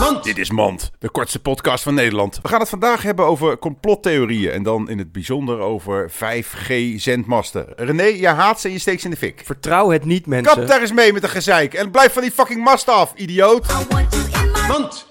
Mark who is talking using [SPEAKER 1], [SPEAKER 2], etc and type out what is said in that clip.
[SPEAKER 1] Mand! Dit is Mand, de kortste podcast van Nederland. We gaan het vandaag hebben over complottheorieën en dan in het bijzonder over 5G-zendmasten. René, je haat ze en je steekt ze in de fik.
[SPEAKER 2] Vertrouw het niet, mensen.
[SPEAKER 1] Kap daar eens mee met een gezeik en blijf van die fucking mast af, idioot!
[SPEAKER 3] I want you in my
[SPEAKER 1] Mand!